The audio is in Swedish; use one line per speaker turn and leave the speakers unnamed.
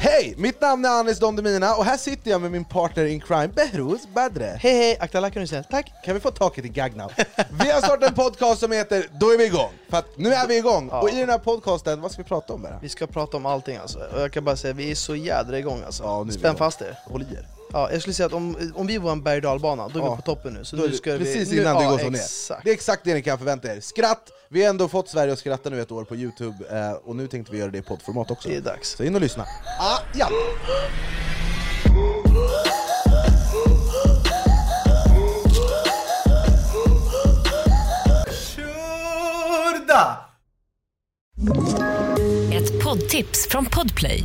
Hej! Mitt namn är Anis Don Demina och här sitter jag med min partner in crime, Behrouz Badre.
Hej hej, akta lacken du säger. Tack!
Kan vi få taket i gagg now? Vi har startat en podcast som heter Då är vi igång! För att nu är vi igång! Och i den här podcasten, vad ska vi prata om Berra?
Vi ska prata om allting alltså. Och jag kan bara säga, vi är så jädra igång alltså.
Ja, nu är vi
Spänn
igång.
fast er.
Håll i er.
Ja, jag skulle säga att om, om vi var en berg och dalbana, då är
Ja.
vi på toppen nu. Så
Då är
nu
det
ska vi,
precis
nu,
innan det
ja,
går så ner.
exakt.
Det är exakt det ni kan förvänta er. Skratt! Vi har ändå fått Sverige att skratta nu ett år på Youtube, eh, och nu tänkte vi göra det i poddformat också.
Det är dags.
Så in och lyssna. Ah, ja.
Ett poddtips från Podplay.